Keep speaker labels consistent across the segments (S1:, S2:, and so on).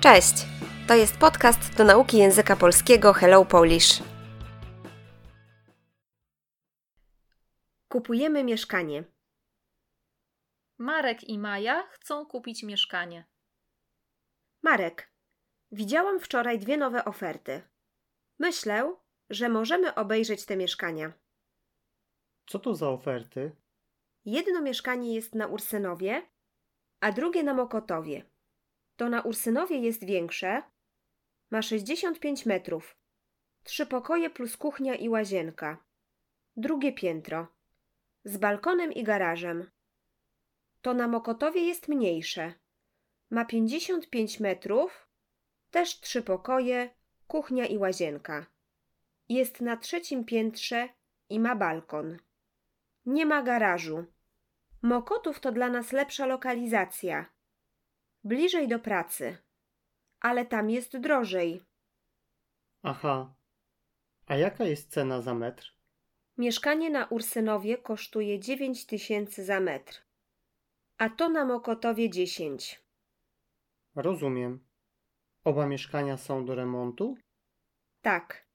S1: Cześć! To jest podcast do nauki języka polskiego Hello Polish. Kupujemy mieszkanie.
S2: Marek i Maja chcą kupić mieszkanie.
S1: Marek, widziałam wczoraj dwie nowe oferty. Myślę, że możemy obejrzeć te mieszkania.
S3: Co to za oferty?
S1: Jedno mieszkanie jest na Ursynowie, a drugie na Mokotowie. To na Ursynowie jest większe, ma 65 metrów, trzy pokoje plus kuchnia i łazienka, drugie piętro, z balkonem i garażem. To na Mokotowie jest mniejsze, ma 55 metrów, też trzy pokoje, kuchnia i łazienka. Jest na trzecim piętrze i ma balkon. Nie ma garażu. Mokotów to dla nas lepsza lokalizacja. Bliżej do pracy. Ale tam jest drożej.
S3: Aha. A jaka jest cena za metr?
S1: Mieszkanie na Ursynowie kosztuje 9 tysięcy za metr, a to na Mokotowie 10.
S3: Rozumiem. Oba mieszkania są do remontu?
S1: Tak.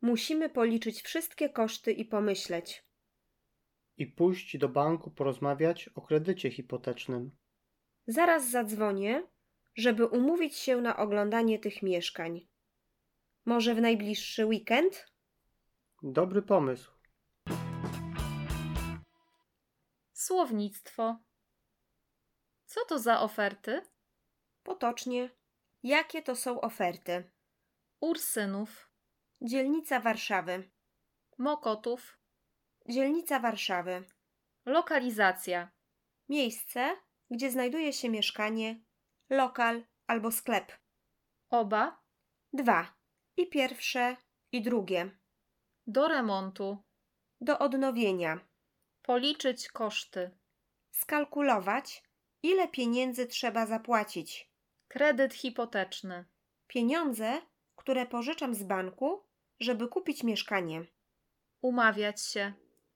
S1: Musimy policzyć wszystkie koszty i pomyśleć.
S3: I pójść do banku porozmawiać o kredycie hipotecznym.
S1: Zaraz zadzwonię, żeby umówić się na oglądanie tych mieszkań. Może w najbliższy weekend?
S3: Dobry pomysł.
S2: Słownictwo. Co to za oferty?
S1: Potocznie. Jakie to są oferty?
S2: Ursynów,
S1: Dzielnica Warszawy.
S2: Mokotów,
S1: Dzielnica Warszawy.
S2: lokalizacja,
S1: Miejsce, gdzie znajduje się mieszkanie, lokal albo sklep.
S2: oba,
S1: Dwa. I pierwsze, i drugie.
S2: do remontu,
S1: Do odnowienia.
S2: policzyć koszty,
S1: Skalkulować, ile pieniędzy trzeba zapłacić.
S2: kredyt hipoteczny,
S1: Pieniądze, które pożyczam z banku, żeby kupić mieszkanie.
S2: umawiać się,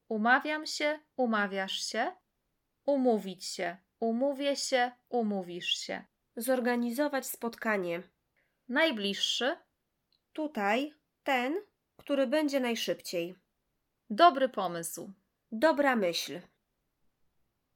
S2: umawiam się, umawiasz się, umówić się, umówię się, umówisz się.
S1: Zorganizować spotkanie.
S2: Najbliższy,
S1: Tutaj ten, który będzie najszybciej.
S2: dobry pomysł.
S1: Dobra myśl.